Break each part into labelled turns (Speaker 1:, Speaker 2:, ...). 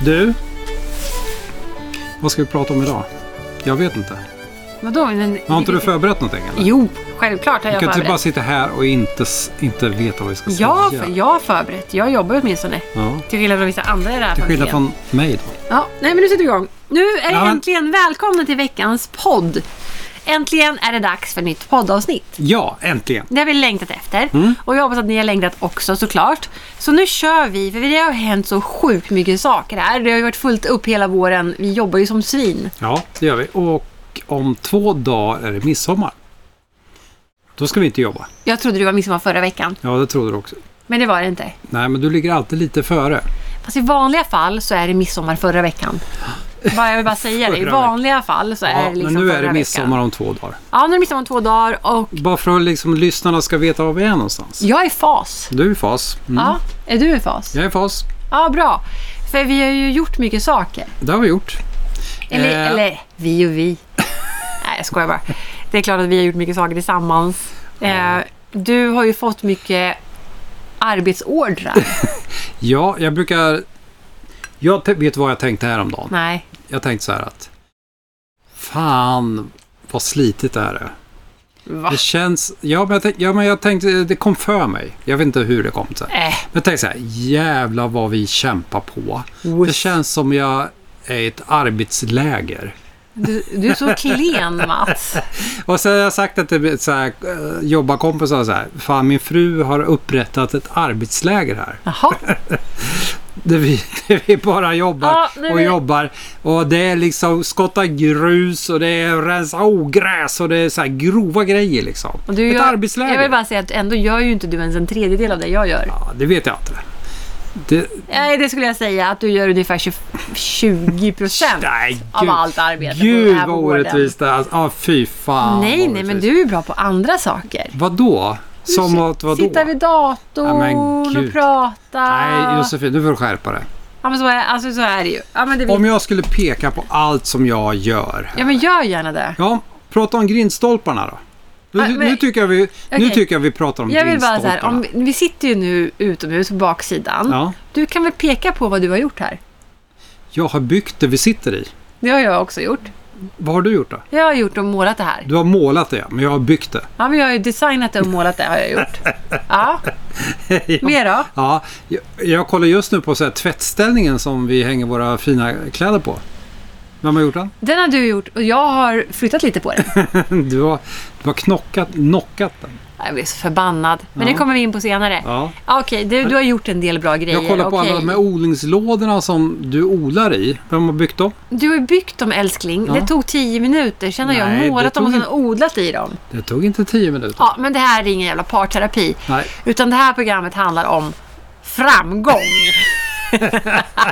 Speaker 1: Du, vad ska vi prata om idag? Jag vet inte.
Speaker 2: Vadå? Men,
Speaker 1: Har inte du förberett någonting? Eller?
Speaker 2: Jo, självklart har
Speaker 1: Du
Speaker 2: jag
Speaker 1: kan inte bara
Speaker 2: förberett.
Speaker 1: sitta här och inte, s- inte veta vad vi ska
Speaker 2: Jag, har
Speaker 1: säga.
Speaker 2: för- jag har förberett. Jag jobbar åtminstone.
Speaker 1: Ja.
Speaker 2: Till skillnad från vissa andra i det här
Speaker 1: Till skillnad
Speaker 2: familjen.
Speaker 1: från mig då.
Speaker 2: Ja, nej men nu sätter vi igång. Nu är det
Speaker 1: Ja, men-
Speaker 2: äntligen välkomna till veckans podd. Äntligen är det dags för ett nytt poddavsnitt.
Speaker 1: Ja, äntligen.
Speaker 2: Det har vi längtat efter.
Speaker 1: Mm.
Speaker 2: Och jag hoppas att ni har längtat också såklart. Så nu kör vi, för det har hänt så sjukt mycket saker här. Det har ju varit fullt upp hela våren. Vi jobbar ju som svin.
Speaker 1: Ja, det gör vi. Och om två dagar är det midsommar. Då ska vi inte jobba.
Speaker 2: Jag trodde det var midsommar förra veckan,
Speaker 1: Ja, det trodde du också.
Speaker 2: men det var det inte.
Speaker 1: Nej, men du ligger alltid lite före.
Speaker 2: Fast i vanliga fall så är det midsommar förra veckan. Bara, jag vill bara säga det. I
Speaker 1: Förra
Speaker 2: vanliga fall så är
Speaker 1: Ja,
Speaker 2: det liksom
Speaker 1: men nu
Speaker 2: förra
Speaker 1: är det midsommar
Speaker 2: Veckan.
Speaker 1: om två dagar.
Speaker 2: Ja, nu är det midsommar om två dagar och
Speaker 1: Bara för att liksom lyssnarna ska veta var vi är någonstans.
Speaker 2: jag är i fas.
Speaker 1: Du är i fas. Mm.
Speaker 2: Ja, är du i fas? Ja.
Speaker 1: Jag är i fas.
Speaker 2: bra. För vi har ju gjort mycket saker.
Speaker 1: Det har vi gjort.
Speaker 2: Eller,
Speaker 1: Eh.
Speaker 2: eller vi och vi. Nej, jag skojar bara. Det är klart att vi har gjort mycket saker tillsammans. Eh, du har ju fått mycket arbetsordrar.
Speaker 1: Ja, jag brukar... Jag te- vet vad jag tänkte häromdagen.
Speaker 2: Nej.
Speaker 1: Jag tänkte så här att... Fan, vad slitigt det här är.
Speaker 2: Va?
Speaker 1: Det känns... Ja men, jag tänkte, ja, men jag tänkte... Det kom för mig. Jag vet inte hur det kom sig.
Speaker 2: Äh,
Speaker 1: Men tänk så här, jävla vad vi kämpar på. Det känns som jag är i ett arbetsläger.
Speaker 2: du, du är så klen Mats.
Speaker 1: Och sen har jag sagt att det blir så här, eh, jobbarkompisar och så här, fan min fru har upprättat ett arbetsläger här.
Speaker 2: Jaha.
Speaker 1: Där vi, där vi bara jobbar
Speaker 2: Ja, nu
Speaker 1: och
Speaker 2: är-
Speaker 1: jobbar. Och det är liksom skotta grus och det är rensa ogräs och det är så här grova grejer liksom.
Speaker 2: Och du
Speaker 1: ett
Speaker 2: gör,
Speaker 1: arbetsläger.
Speaker 2: Jag vill bara säga att ändå gör ju inte du ens en tredjedel av det jag gör.
Speaker 1: Ja, det vet jag inte. Det,
Speaker 2: Nej, det skulle jag säga att du gör ungefär 20, 20 procent
Speaker 1: nej,
Speaker 2: av allt arbete. på den
Speaker 1: Gud
Speaker 2: här
Speaker 1: vad
Speaker 2: vården.
Speaker 1: orättvist det är. Alltså, Ja, fy fan.
Speaker 2: Nej,
Speaker 1: vad
Speaker 2: nej, men
Speaker 1: orättvist.
Speaker 2: du är bra på andra saker.
Speaker 1: Vadå? Som att vadå?
Speaker 2: Sitta vid datorn
Speaker 1: Ja, men gud.
Speaker 2: och prata.
Speaker 1: Nej, Josefin, du får skärpa dig.
Speaker 2: Ja, men så är, alltså, så är det ju. Ja, men det
Speaker 1: Om jag skulle peka på allt som jag gör.
Speaker 2: ja, men gör gärna det.
Speaker 1: Ja, prata om grindstolparna då. Nu,
Speaker 2: Ah, men-
Speaker 1: nu, tycker, jag vi, nu
Speaker 2: Okej.
Speaker 1: tycker jag vi pratar om
Speaker 2: Jag vill bara så
Speaker 1: grindstolparna.
Speaker 2: här, om, vi- vi sitter ju nu utomhus på baksidan.
Speaker 1: Ja,
Speaker 2: Du kan väl peka på vad du har gjort här?
Speaker 1: jag har byggt det vi sitter i.
Speaker 2: Det har jag också gjort.
Speaker 1: Vad har du gjort då?
Speaker 2: Jag har gjort och målat det här.
Speaker 1: Du har målat det, ja, men jag har byggt det.
Speaker 2: Ja, men jag har ju designat det och målat det har jag gjort. Ja, mer då?
Speaker 1: Ja, jag, jag kollar just nu på så här tvättställningen som vi hänger våra fina kläder på. Vem har gjort den?
Speaker 2: Den har du gjort och jag har flyttat lite på den.
Speaker 1: Du har, du har knockat, knockat den.
Speaker 2: Jag blir så förbannad. Men
Speaker 1: Ja.
Speaker 2: det kommer vi in på senare.
Speaker 1: Ja.
Speaker 2: Ja, Okej, du, du har gjort en del bra grejer.
Speaker 1: Jag kollar på alla
Speaker 2: okej.
Speaker 1: de här odlingslådorna som du odlar i. Vem har byggt dem?
Speaker 2: Du har ju byggt dem älskling.
Speaker 1: Ja.
Speaker 2: Det tog tio minuter. Sen har
Speaker 1: Nej, det
Speaker 2: jag målat dem och
Speaker 1: tog
Speaker 2: sen odlat i dem.
Speaker 1: Det tog inte tio minuter.
Speaker 2: Ja, men det här är ingen jävla parterapi.
Speaker 1: Nej.
Speaker 2: Utan det här programmet handlar om framgång. Jag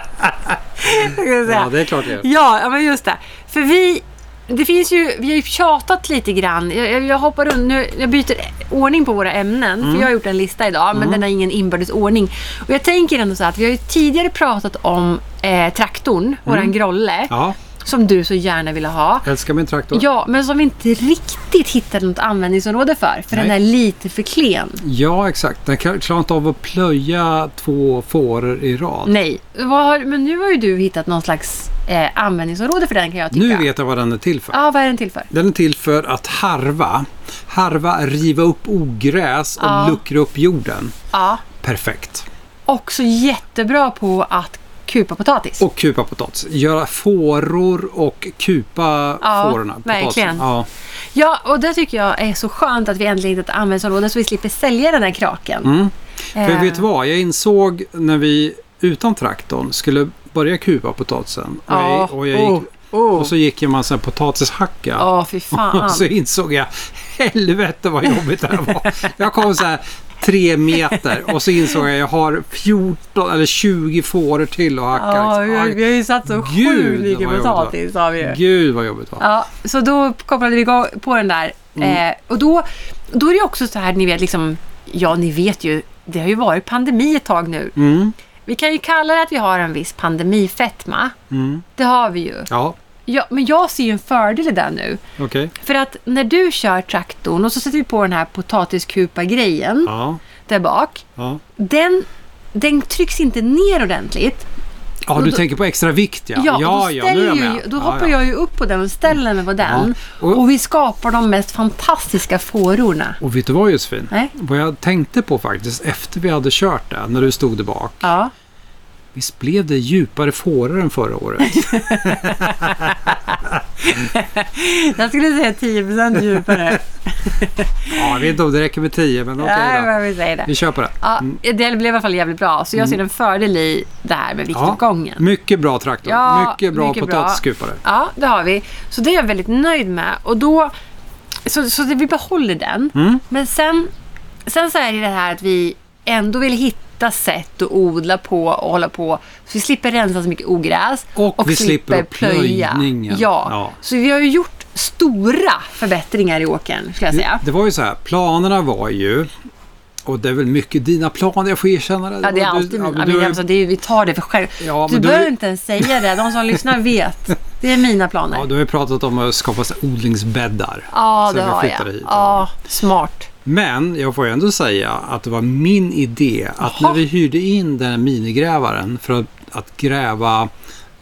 Speaker 2: kan säga.
Speaker 1: Ja, det är klart det är.
Speaker 2: Ja, ja, men just det. För vi, det finns ju, vi har ju tjatat lite grann. Jag, jag- jag hoppar runt nu. Jag byter ordning på våra ämnen.
Speaker 1: Mm.
Speaker 2: För jag har gjort en lista idag, men den har ingen inbördes ordning. Och jag tänker ändå så här att vi har ju tidigare pratat om eh, traktorn,
Speaker 1: Mm.
Speaker 2: våran Grolle.
Speaker 1: Ja,
Speaker 2: Som du så gärna ville ha.
Speaker 1: älskar min traktor.
Speaker 2: Ja, men som vi inte riktigt hittade något användningsområde för. För den
Speaker 1: Nej.
Speaker 2: är lite för klen.
Speaker 1: Ja, exakt. Den kan- klarar inte av att plöja två fåror i rad.
Speaker 2: Nej. Vad har, men nu har ju du hittat någon slags eh, användningsområde för den kan jag tycka.
Speaker 1: Nu vet jag vad den är till för.
Speaker 2: Ja, vad är den till för?
Speaker 1: Den är till för att harva. Harva, riva upp ogräs och
Speaker 2: Ja.
Speaker 1: luckra upp jorden.
Speaker 2: Ja.
Speaker 1: Perfekt.
Speaker 2: Också jättebra på att kupa potatis.
Speaker 1: Och kupa potatis. Göra fåror och kupa
Speaker 2: Ja,
Speaker 1: fårorna. potatisen.
Speaker 2: verkligen.
Speaker 1: Ja,
Speaker 2: Ja, och det tycker jag är så skönt att vi äntligen hittat ett användningsområde så vi slipper sälja den här kraken.
Speaker 1: Mm. För
Speaker 2: Eh,
Speaker 1: vet du vad? Jag insåg när vi utan traktorn skulle börja kupa potatisen. Och,
Speaker 2: Ja.
Speaker 1: jag, och, jag gick,
Speaker 2: oh, oh.
Speaker 1: och så gick jag en massa potatishacka.
Speaker 2: Ja, fy fan.
Speaker 1: Och så insåg jag, helvete vad jobbigt det här var. Jag kom så här tre meter och så insåg jag, jag har 14 eller 20 fåror till att hacka.
Speaker 2: Ja, vi, har-
Speaker 1: liksom.
Speaker 2: vi har ju satt så
Speaker 1: Gud,
Speaker 2: sjukt mycket
Speaker 1: vad jobbigt.
Speaker 2: potatis. Har vi ju.
Speaker 1: Aj, Gud vad jobbigt det var.
Speaker 2: Ja, så då kopplade vi igång på den där.
Speaker 1: Mm.
Speaker 2: Eh, och då, då är det också så här, ni vet, liksom, ja ni vet ju, det har ju varit pandemi ett tag nu.
Speaker 1: Mm,
Speaker 2: Vi kan ju kalla det att vi har en viss pandemifetma.
Speaker 1: mm.
Speaker 2: Det har vi ju.
Speaker 1: Ja,
Speaker 2: Ja, men jag ser ju en fördel i det nu.
Speaker 1: okej.
Speaker 2: För att när du kör traktorn och så sätter vi på den här potatiskupa-grejen
Speaker 1: Ja,
Speaker 2: där bak.
Speaker 1: ja.
Speaker 2: Den, den trycks inte ner ordentligt.
Speaker 1: Ja,
Speaker 2: Och
Speaker 1: du
Speaker 2: då-
Speaker 1: tänker på extra vikt ja.
Speaker 2: Ja, då,
Speaker 1: nu är
Speaker 2: ställer
Speaker 1: jag
Speaker 2: ju,
Speaker 1: med.
Speaker 2: då
Speaker 1: Ja,
Speaker 2: hoppar
Speaker 1: ja.
Speaker 2: jag ju upp på den och ställer mig på den.
Speaker 1: Ja. Och-
Speaker 2: Och vi skapar de mest fantastiska fårorna.
Speaker 1: Och vet du vad Josefin?
Speaker 2: Nej?
Speaker 1: Vad jag tänkte på faktiskt efter vi hade kört det, när du stod där bak.
Speaker 2: Ja.
Speaker 1: Visst blev det djupare fåror än förra året?
Speaker 2: Jag skulle säga 10 djupare.
Speaker 1: ja, jag vet inte om det räcker med 10, men okej
Speaker 2: Nej,
Speaker 1: då. Mm.
Speaker 2: men vi säger det.
Speaker 1: Vi kör på det.
Speaker 2: Ja, det blev i alla fall jävligt bra, så jag
Speaker 1: Mm.
Speaker 2: ser en fördel i det här med viktuppgången.
Speaker 1: Mycket bra traktor.
Speaker 2: Ja,
Speaker 1: mycket bra
Speaker 2: mycket bra.
Speaker 1: potatisskupare.
Speaker 2: Ja, det har vi. Så det är jag väldigt nöjd med. Och då, så så det, vi behåller den.
Speaker 1: Mm.
Speaker 2: Men sen, sen så är det det här att vi ändå vill hitta sätt att odla på och hålla på. Så vi slipper rensa så mycket ogräs.
Speaker 1: Och vi slipper plöjningen.
Speaker 2: Ja.
Speaker 1: Ja.
Speaker 2: Så vi har ju gjort stora förbättringar i åkern, skulle jag säga.
Speaker 1: Det var ju så här, planerna var ju... Och det är väl mycket dina planer, jag får erkänna det.
Speaker 2: Ja, det är
Speaker 1: Du-
Speaker 2: alltid
Speaker 1: ja, men
Speaker 2: mina.
Speaker 1: du-
Speaker 2: men alltså, det är, ju- vi tar det för själv.
Speaker 1: Ja,
Speaker 2: du
Speaker 1: men du-
Speaker 2: behöver inte ens säga det. De som lyssnar vet. Det är mina planer.
Speaker 1: Ja, du har ju pratat om att skapa så här odlingsbäddar.
Speaker 2: Ja,
Speaker 1: sen
Speaker 2: det
Speaker 1: vi
Speaker 2: har jag.
Speaker 1: flyttade hit.
Speaker 2: Ja, smart.
Speaker 1: Men jag får ju ändå säga att det var min idé att
Speaker 2: Jaha.
Speaker 1: när vi hyrde in den här minigrävaren för att, att gräva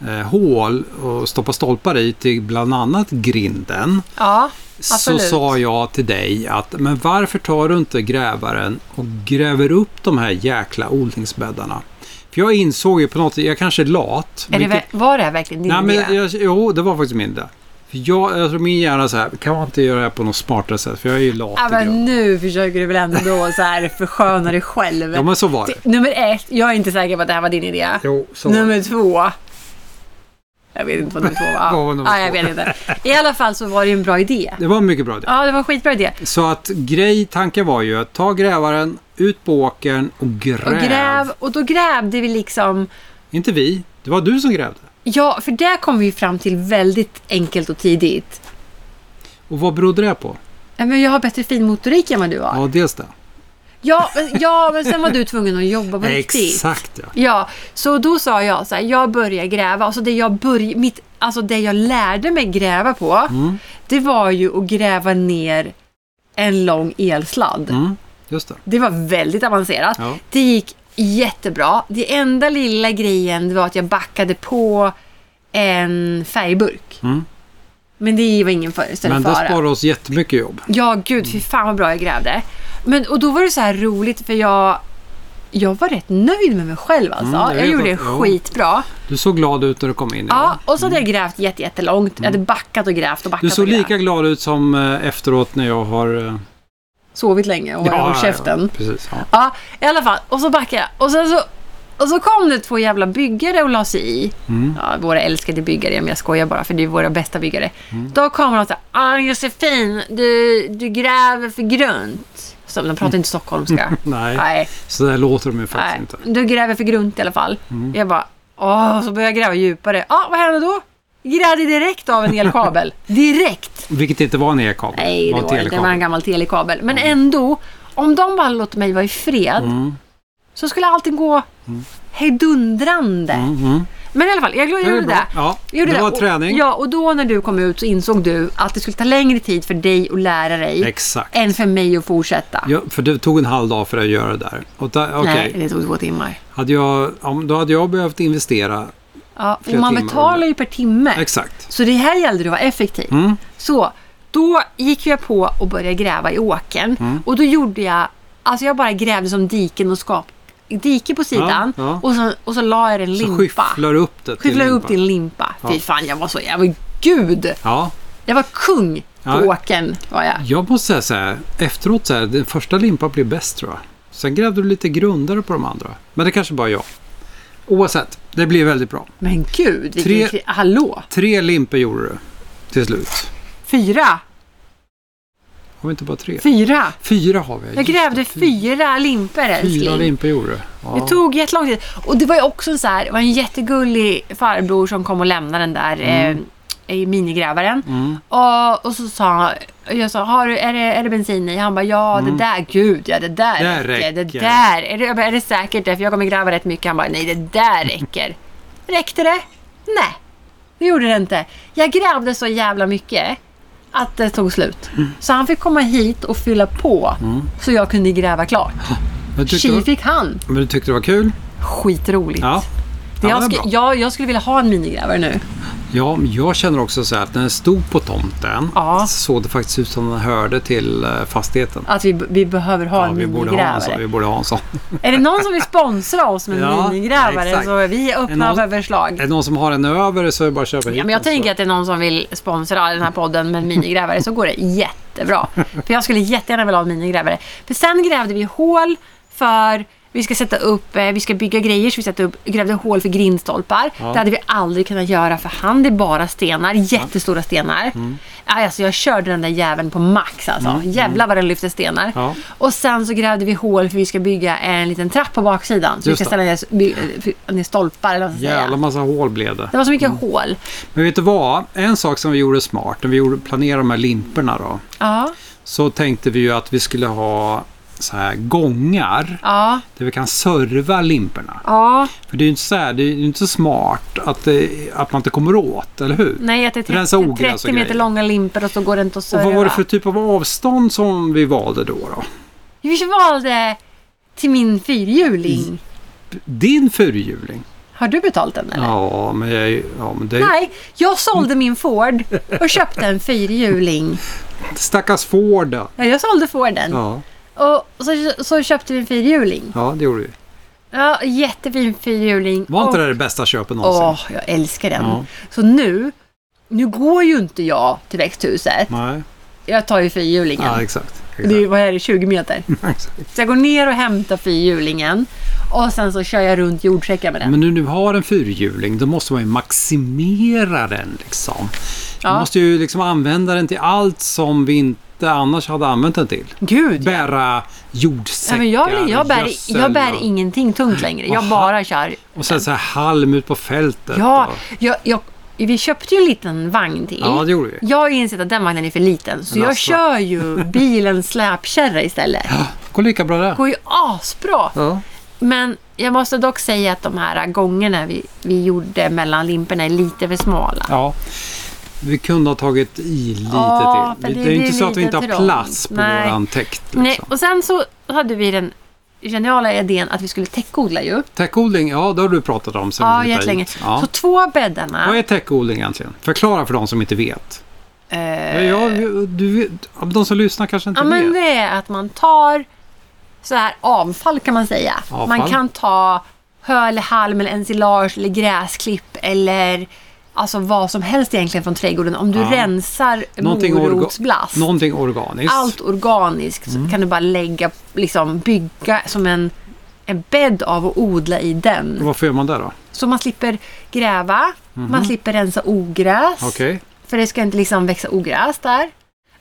Speaker 1: eh, hål och stoppa stolpar i till bland annat grinden.
Speaker 2: Ja,
Speaker 1: Så
Speaker 2: absolut.
Speaker 1: sa jag till dig att men varför tar du inte grävaren och gräver upp de här jäkla odlingsbäddarna? För jag insåg ju på något sätt, jag kanske är lat.
Speaker 2: är det,
Speaker 1: vilket-
Speaker 2: ver- var det här verkligen din
Speaker 1: Nej, men
Speaker 2: idé?
Speaker 1: jag, jo, det var faktiskt min idé. För jag, jag tror min hjärna så här, kan man inte göra det här på något smartare sätt? För jag är ju lat
Speaker 2: Ja,
Speaker 1: i grunden.
Speaker 2: men nu försöker du väl ändå så här försköna dig själv.
Speaker 1: Ja, men så var det.
Speaker 2: Det- Nummer ett, jag är inte säker på att det här var din idé.
Speaker 1: Jo, så var det.
Speaker 2: nummer två. Jag vet inte vad nummer två var.
Speaker 1: Vad var nummer
Speaker 2: ja, jag
Speaker 1: två?
Speaker 2: vet inte. I alla fall så var det ju en bra idé.
Speaker 1: Det var en mycket bra idé.
Speaker 2: Ja, det var en skitbra idé.
Speaker 1: Så att grej, tanken var ju att ta grävaren, ut på åkern och gräv.
Speaker 2: Och, gräv, och då grävde vi liksom...
Speaker 1: Inte vi, det var du som grävde.
Speaker 2: Ja, för det kom vi ju fram till väldigt enkelt och tidigt.
Speaker 1: Och vad berodde det på?
Speaker 2: Ja, Men jag har bättre finmotorik än vad du har.
Speaker 1: Ja, dels det.
Speaker 2: Ja, men, ja, men sen var du tvungen att jobba på riktigt.
Speaker 1: Exakt ja.
Speaker 2: Ja, så då sa jag så här, jag börjar gräva. Alltså det jag, börj, mitt, alltså det jag lärde mig gräva på,
Speaker 1: Mm.
Speaker 2: det var ju att gräva ner en lång elsladd.
Speaker 1: Mm, just det.
Speaker 2: Det var väldigt avancerat.
Speaker 1: Ja.
Speaker 2: Det gick jättebra. Det enda lilla grejen det var att jag backade på en färgburk.
Speaker 1: Mm.
Speaker 2: Men det var ingen för, större
Speaker 1: Men det
Speaker 2: fara.
Speaker 1: sparar oss jättemycket jobb.
Speaker 2: Ja, gud, fy fan vad bra jag grävde. Men, och då var det så här roligt för jag, jag var rätt nöjd med mig själv alltså.
Speaker 1: Mm, jag
Speaker 2: jag
Speaker 1: vet
Speaker 2: gjorde det
Speaker 1: att- ja.
Speaker 2: skitbra.
Speaker 1: Du såg glad ut när du kom in.
Speaker 2: Ja, och så hade jag grävt jätte, jättelångt. Jag hade backat och grävt och backat
Speaker 1: Mm. Du såg
Speaker 2: och grävt.
Speaker 1: lika glad ut som eh, efteråt när jag har... eh,
Speaker 2: Sovit länge och
Speaker 1: ja,
Speaker 2: hållit
Speaker 1: ja,
Speaker 2: käften.
Speaker 1: Ja, precis. Ja.
Speaker 2: Ja, i alla fall. Och så backade jag. Och sen så, och så kom det två jävla byggare och la sig i.
Speaker 1: Mm.
Speaker 2: Ja, våra älskade byggare, men jag skojar bara för det är våra bästa byggare.
Speaker 1: Mm.
Speaker 2: Då kom de och sa ah, Josefin, du, du gräver för grunt. Så de pratar inte stockholmska.
Speaker 1: Nej.
Speaker 2: Nej.
Speaker 1: Så där låter de ju faktiskt
Speaker 2: Nej,
Speaker 1: inte. Mm.
Speaker 2: du gräver för grunt i alla fall. Jag bara, åh, så börjar jag gräva djupare. Ja, vad hände då? Grävde direkt av en elkabel. direkt!
Speaker 1: Vilket inte var en e-kabel.
Speaker 2: Nej, det var, det. det var en
Speaker 1: telekabel.
Speaker 2: gammal telekabel. Men ändå, om de bara låter mig vara i fred
Speaker 1: Mm.
Speaker 2: så skulle allting gå hejdundrande.
Speaker 1: Mm, mm.
Speaker 2: Men i alla fall, jag
Speaker 1: Det är
Speaker 2: gjorde
Speaker 1: bra.
Speaker 2: det.
Speaker 1: Ja,
Speaker 2: Jag gjorde
Speaker 1: det var
Speaker 2: Och-
Speaker 1: träning.
Speaker 2: Ja, och då när du kom ut så insåg du att det skulle ta längre tid för dig att lära dig
Speaker 1: Exakt.
Speaker 2: än för mig att fortsätta.
Speaker 1: Ja, för det tog en halv dag för att göra det där. Och där okej,
Speaker 2: Nej, det tog två timmar.
Speaker 1: hade jag, om, då hade jag behövt investera.
Speaker 2: Ja, och
Speaker 1: Flera
Speaker 2: man
Speaker 1: timmar
Speaker 2: betalar
Speaker 1: under.
Speaker 2: ju per timme.
Speaker 1: Exakt.
Speaker 2: Så det här gällde det att vara effektiv.
Speaker 1: Mm.
Speaker 2: Så då gick jag på och började gräva i åkern.
Speaker 1: Mm.
Speaker 2: Och då gjorde jag, alltså jag bara grävde som diken och skap dike på sidan
Speaker 1: Ja, ja.
Speaker 2: Och, så, och så la jag en
Speaker 1: Så
Speaker 2: limpa.
Speaker 1: skyfflar du upp det till
Speaker 2: Skyfflade upp
Speaker 1: limpa.
Speaker 2: din limpa. Fy
Speaker 1: Ja.
Speaker 2: fan, jag var så, jag var gud!
Speaker 1: Ja,
Speaker 2: Jag var kung på
Speaker 1: Ja.
Speaker 2: åkern var jag.
Speaker 1: jag måste säga så här. Efteråt så här, den första limpan blev bäst tror jag. Sen grävde du lite grundare på de andra. Men det kanske bara är jag. Oavsett, det blev väldigt bra.
Speaker 2: Men gud, vilken
Speaker 1: Tre-
Speaker 2: kri- hallå!
Speaker 1: Tre limpor gjorde du till slut.
Speaker 2: Fyra!
Speaker 1: Har vi inte bara tre?
Speaker 2: Fyra!
Speaker 1: Fyra har vi.
Speaker 2: Jag grävde fyra limpor
Speaker 1: Fyra
Speaker 2: älskling.
Speaker 1: limpor gjorde du. Ja.
Speaker 2: Det tog jättelång tid. Och det var ju också så här, det var en jättegullig farbror som kom och lämnade den där
Speaker 1: Mm.
Speaker 2: eh, i minigrävaren. Och, och så sa han, jag sa, har du, är, det, är det bensin i? Han bara, ja det där, gud ja det där
Speaker 1: Mm. Det
Speaker 2: räcker. Det
Speaker 1: räcker.
Speaker 2: där, är det, jag bara, är det säkert det? För jag kommer gräva rätt mycket. Han bara, nej det där räcker. Räckte det? Nej, det gjorde det inte. Jag grävde så jävla mycket att det tog slut.
Speaker 1: Mm.
Speaker 2: Så han fick komma hit och fylla på så jag kunde gräva klart.
Speaker 1: Men du Mm. tyckte,
Speaker 2: Tji fick han.
Speaker 1: men du tyckte det var kul?
Speaker 2: Skitroligt.
Speaker 1: Ja. Ja,
Speaker 2: jag,
Speaker 1: men
Speaker 2: sku,
Speaker 1: bra.
Speaker 2: jag, jag skulle vilja ha en minigrävare nu.
Speaker 1: Ja, men jag känner också så här att när den stod på tomten
Speaker 2: Ja.
Speaker 1: så såg det faktiskt ut som den hörde till eh, fastigheten.
Speaker 2: Att vi, vi behöver ha
Speaker 1: Ja,
Speaker 2: en
Speaker 1: vi borde ha en sån. Vi
Speaker 2: minigrävare.
Speaker 1: borde ha en sån.
Speaker 2: Är det någon som vill sponsra oss med en
Speaker 1: Ja,
Speaker 2: minigrävare
Speaker 1: exakt.
Speaker 2: så är vi
Speaker 1: Är
Speaker 2: öppna
Speaker 1: någon-
Speaker 2: för förslag.
Speaker 1: Är det någon som har en över så är det bara att köpa hit
Speaker 2: Ja, men jag
Speaker 1: den, så-
Speaker 2: tänker att det är någon som vill sponsra den här podden med en minigrävare så går det jättebra. För jag skulle jättegärna vilja ha en minigrävare. För sen grävde vi hål för vi ska sätta upp, eh, vi ska bygga grejer så vi satte upp, grävde hål för grindstolpar.
Speaker 1: Ja.
Speaker 2: Det hade vi aldrig kunnat göra för hand är bara stenar, jättestora stenar.
Speaker 1: Mm.
Speaker 2: Alltså jag körde den där jäveln på max alltså. Jävlar vad den lyfte stenar.
Speaker 1: Ja.
Speaker 2: Och sen så grävde vi hål för vi ska bygga en liten trapp på baksidan. Så
Speaker 1: Just
Speaker 2: vi ska ställa ner, by, eh, ner stolpar eller vad man ska
Speaker 1: Jävla
Speaker 2: säga.
Speaker 1: massa hål blev det.
Speaker 2: Det var så mycket hål.
Speaker 1: Men vet du vad? En sak som vi gjorde smart när vi gjorde- planerade de här limporna då.
Speaker 2: Ja,
Speaker 1: Så tänkte vi ju att vi skulle ha så här gångar
Speaker 2: ja.
Speaker 1: där vi kan serva limporna.
Speaker 2: Ja,
Speaker 1: För det är ju inte så, här, det är ju inte så smart att, det, att man inte kommer åt, eller hur?
Speaker 2: nej att det är
Speaker 1: Rensa
Speaker 2: 30,
Speaker 1: ogräs och
Speaker 2: 30 meter
Speaker 1: alltså grejer.
Speaker 2: långa limper och Mm, så går det inte
Speaker 1: Och
Speaker 2: att serva.
Speaker 1: vad var det för typ av avstånd som vi valde då? då?
Speaker 2: Vi valde till min
Speaker 1: Mm.
Speaker 2: fyrhjuling.
Speaker 1: Din fyrhjuling?
Speaker 2: Har du betalt den eller?
Speaker 1: Ja, men, jag, ja, men det
Speaker 2: Nej, jag sålde min Ford och köpte en fyrhjuling.
Speaker 1: stackars Ford.
Speaker 2: Ja, jag sålde Forden
Speaker 1: Ja,
Speaker 2: och så, så köpte vi en fyrhjuling.
Speaker 1: ja, det gjorde vi.
Speaker 2: Ja, jättefin fyrhjuling.
Speaker 1: Var inte
Speaker 2: Och-
Speaker 1: det det bästa köpet någonsin?
Speaker 2: Åh, jag älskar den.
Speaker 1: Ja.
Speaker 2: Så nu, nu går ju inte jag till växthuset.
Speaker 1: Nej,
Speaker 2: Jag tar ju fyrhjulingen.
Speaker 1: ja, exakt.
Speaker 2: det är ju,
Speaker 1: exakt.
Speaker 2: vad är det, 20 meter? Så jag går ner och hämtar fyrhjulingen och sen så kör jag runt jordsäckar med den.
Speaker 1: Men nu nu har en fyrhjuling, då måste man ju maximera den liksom. Man
Speaker 2: Ja.
Speaker 1: måste ju liksom använda den till allt som vi inte annars hade använt den till.
Speaker 2: Gud! ja.
Speaker 1: Bära
Speaker 2: Ja,
Speaker 1: jordsäckar,
Speaker 2: men jag, vill- jag bär,
Speaker 1: gödsel
Speaker 2: jag bär
Speaker 1: och-
Speaker 2: ingenting tungt längre. Jag
Speaker 1: Aha.
Speaker 2: bara kör.
Speaker 1: Och sen så här halm ut på fältet.
Speaker 2: Ja,
Speaker 1: och-
Speaker 2: jag, jag, vi köpte ju en liten vagn till.
Speaker 1: ja, det gjorde vi.
Speaker 2: Jag har ju insett att den vagnen är för liten, så
Speaker 1: Men
Speaker 2: jag
Speaker 1: alltså.
Speaker 2: kör ju bilens släpkärra istället.
Speaker 1: Går lika bra där.
Speaker 2: Det går ju asbra!
Speaker 1: Ja.
Speaker 2: Men jag måste dock säga att de här gångerna vi, vi gjorde mellan limporna är lite för smala.
Speaker 1: ja. Vi kunde ha tagit i lite
Speaker 2: Ja,
Speaker 1: till. Vi-
Speaker 2: för det
Speaker 1: det är
Speaker 2: blir
Speaker 1: inte så att vi inte
Speaker 2: lite
Speaker 1: har
Speaker 2: trångt.
Speaker 1: plats på
Speaker 2: Nej.
Speaker 1: våran täkt. Liksom.
Speaker 2: Nej, och sen så hade vi den geniala idén att vi skulle täckodla ju.
Speaker 1: Täckodling, ja det har du pratat om sen
Speaker 2: Ja,
Speaker 1: vi flyttade
Speaker 2: jättelänge.
Speaker 1: hit. Ja.
Speaker 2: Så två bäddarna.
Speaker 1: Vad är täckodling egentligen? Förklara för de som inte vet.
Speaker 2: eh,
Speaker 1: Ja, ja, du, vet- ja, men de som lyssnar kanske inte
Speaker 2: ja,
Speaker 1: vet.
Speaker 2: men det är att man tar så här avfall kan man säga.
Speaker 1: Avfall.
Speaker 2: Man kan ta hö eller halm eller ensilage eller gräsklipp eller alltså vad som helst egentligen från trädgården. Om du
Speaker 1: Ja.
Speaker 2: rensar
Speaker 1: Någonting orga-
Speaker 2: morotsblast.
Speaker 1: Någonting Mm. organiskt.
Speaker 2: allt organiskt så kan du bara lägga, liksom bygga som en, en bädd av och odla i den.
Speaker 1: Varför gör man det då?
Speaker 2: Så man slipper gräva, man slipper rensa ogräs.
Speaker 1: Mhm. Okej.
Speaker 2: För det ska inte liksom växa ogräs där.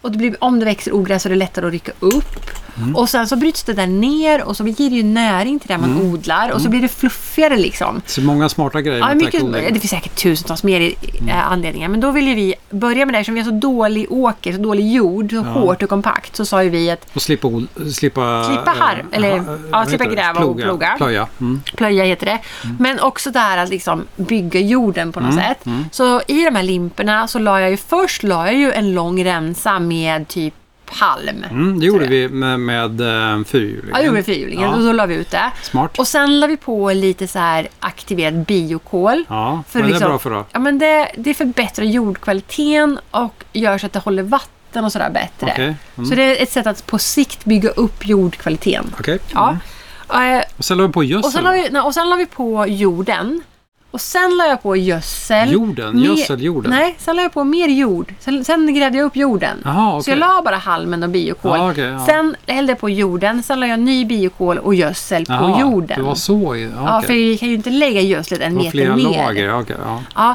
Speaker 2: Och det blir, om det växer ogräs så är det lättare att rycka upp. Och sen så bryts det där ner och så ger det ju näring till det man odlar och så blir det fluffigare liksom.
Speaker 1: Så många smarta grejer
Speaker 2: Ja,
Speaker 1: med
Speaker 2: mycket,
Speaker 1: täckodling.
Speaker 2: det finns säkert tusentals mer i, eh, anledningar, men då ville vi börja med det här. Eftersom vi har så dålig åker, så dålig jord, så hårt och kompakt, så sa ju vi att
Speaker 1: Och slippa... ol- slippa
Speaker 2: Slippa harm,
Speaker 1: eh,
Speaker 2: eller,
Speaker 1: ha- eh,
Speaker 2: ja,
Speaker 1: vad
Speaker 2: slippa
Speaker 1: heter det?
Speaker 2: gräva och ploga.
Speaker 1: Plöja. Mm.
Speaker 2: plöja heter det. Men också det här att liksom bygga jorden på något sätt. Så i de här limporna så la jag ju först la jag ju en lång remsa med typ halm.
Speaker 1: Mm, det gjorde vi med, med eh, fyrhjulingen.
Speaker 2: Ja, jag gjorde med fyrhjulingen
Speaker 1: Ja.
Speaker 2: och så la vi ut det.
Speaker 1: Smart.
Speaker 2: Och sen la vi på lite så här aktiverad biokol.
Speaker 1: Ja,
Speaker 2: För
Speaker 1: men det
Speaker 2: liksom-
Speaker 1: är bra för då.
Speaker 2: Ja, men det, det förbättrar jordkvaliteten och gör så att det håller vatten och sådär bättre.
Speaker 1: Okej. mm.
Speaker 2: Så det är ett sätt att på sikt bygga upp jordkvaliteten.
Speaker 1: Okej. Mm.
Speaker 2: Ja. Eh,
Speaker 1: Och sen la vi på
Speaker 2: Och sen,
Speaker 1: gödsel.
Speaker 2: la vi, nej, och sen la vi på jorden. Och sen la jag på gödsel.
Speaker 1: Jorden?
Speaker 2: Mer-
Speaker 1: Gödseljorden?
Speaker 2: Nej, sen la jag på mer jord. Sen, sen grävde jag upp jorden.
Speaker 1: Jaha,
Speaker 2: Så
Speaker 1: okej.
Speaker 2: jag la bara halmen och biokol.
Speaker 1: Ja, okej, ja.
Speaker 2: Sen hällde jag på jorden. Sen la jag ny biokol och gödsel på
Speaker 1: Jaha,
Speaker 2: jorden.
Speaker 1: Det var så? i- Ja,
Speaker 2: Ja,
Speaker 1: okej.
Speaker 2: för vi kan ju inte lägga gödslet en
Speaker 1: Det var
Speaker 2: meter
Speaker 1: flera
Speaker 2: ner.
Speaker 1: lager. ja, okej, ja.
Speaker 2: Ja,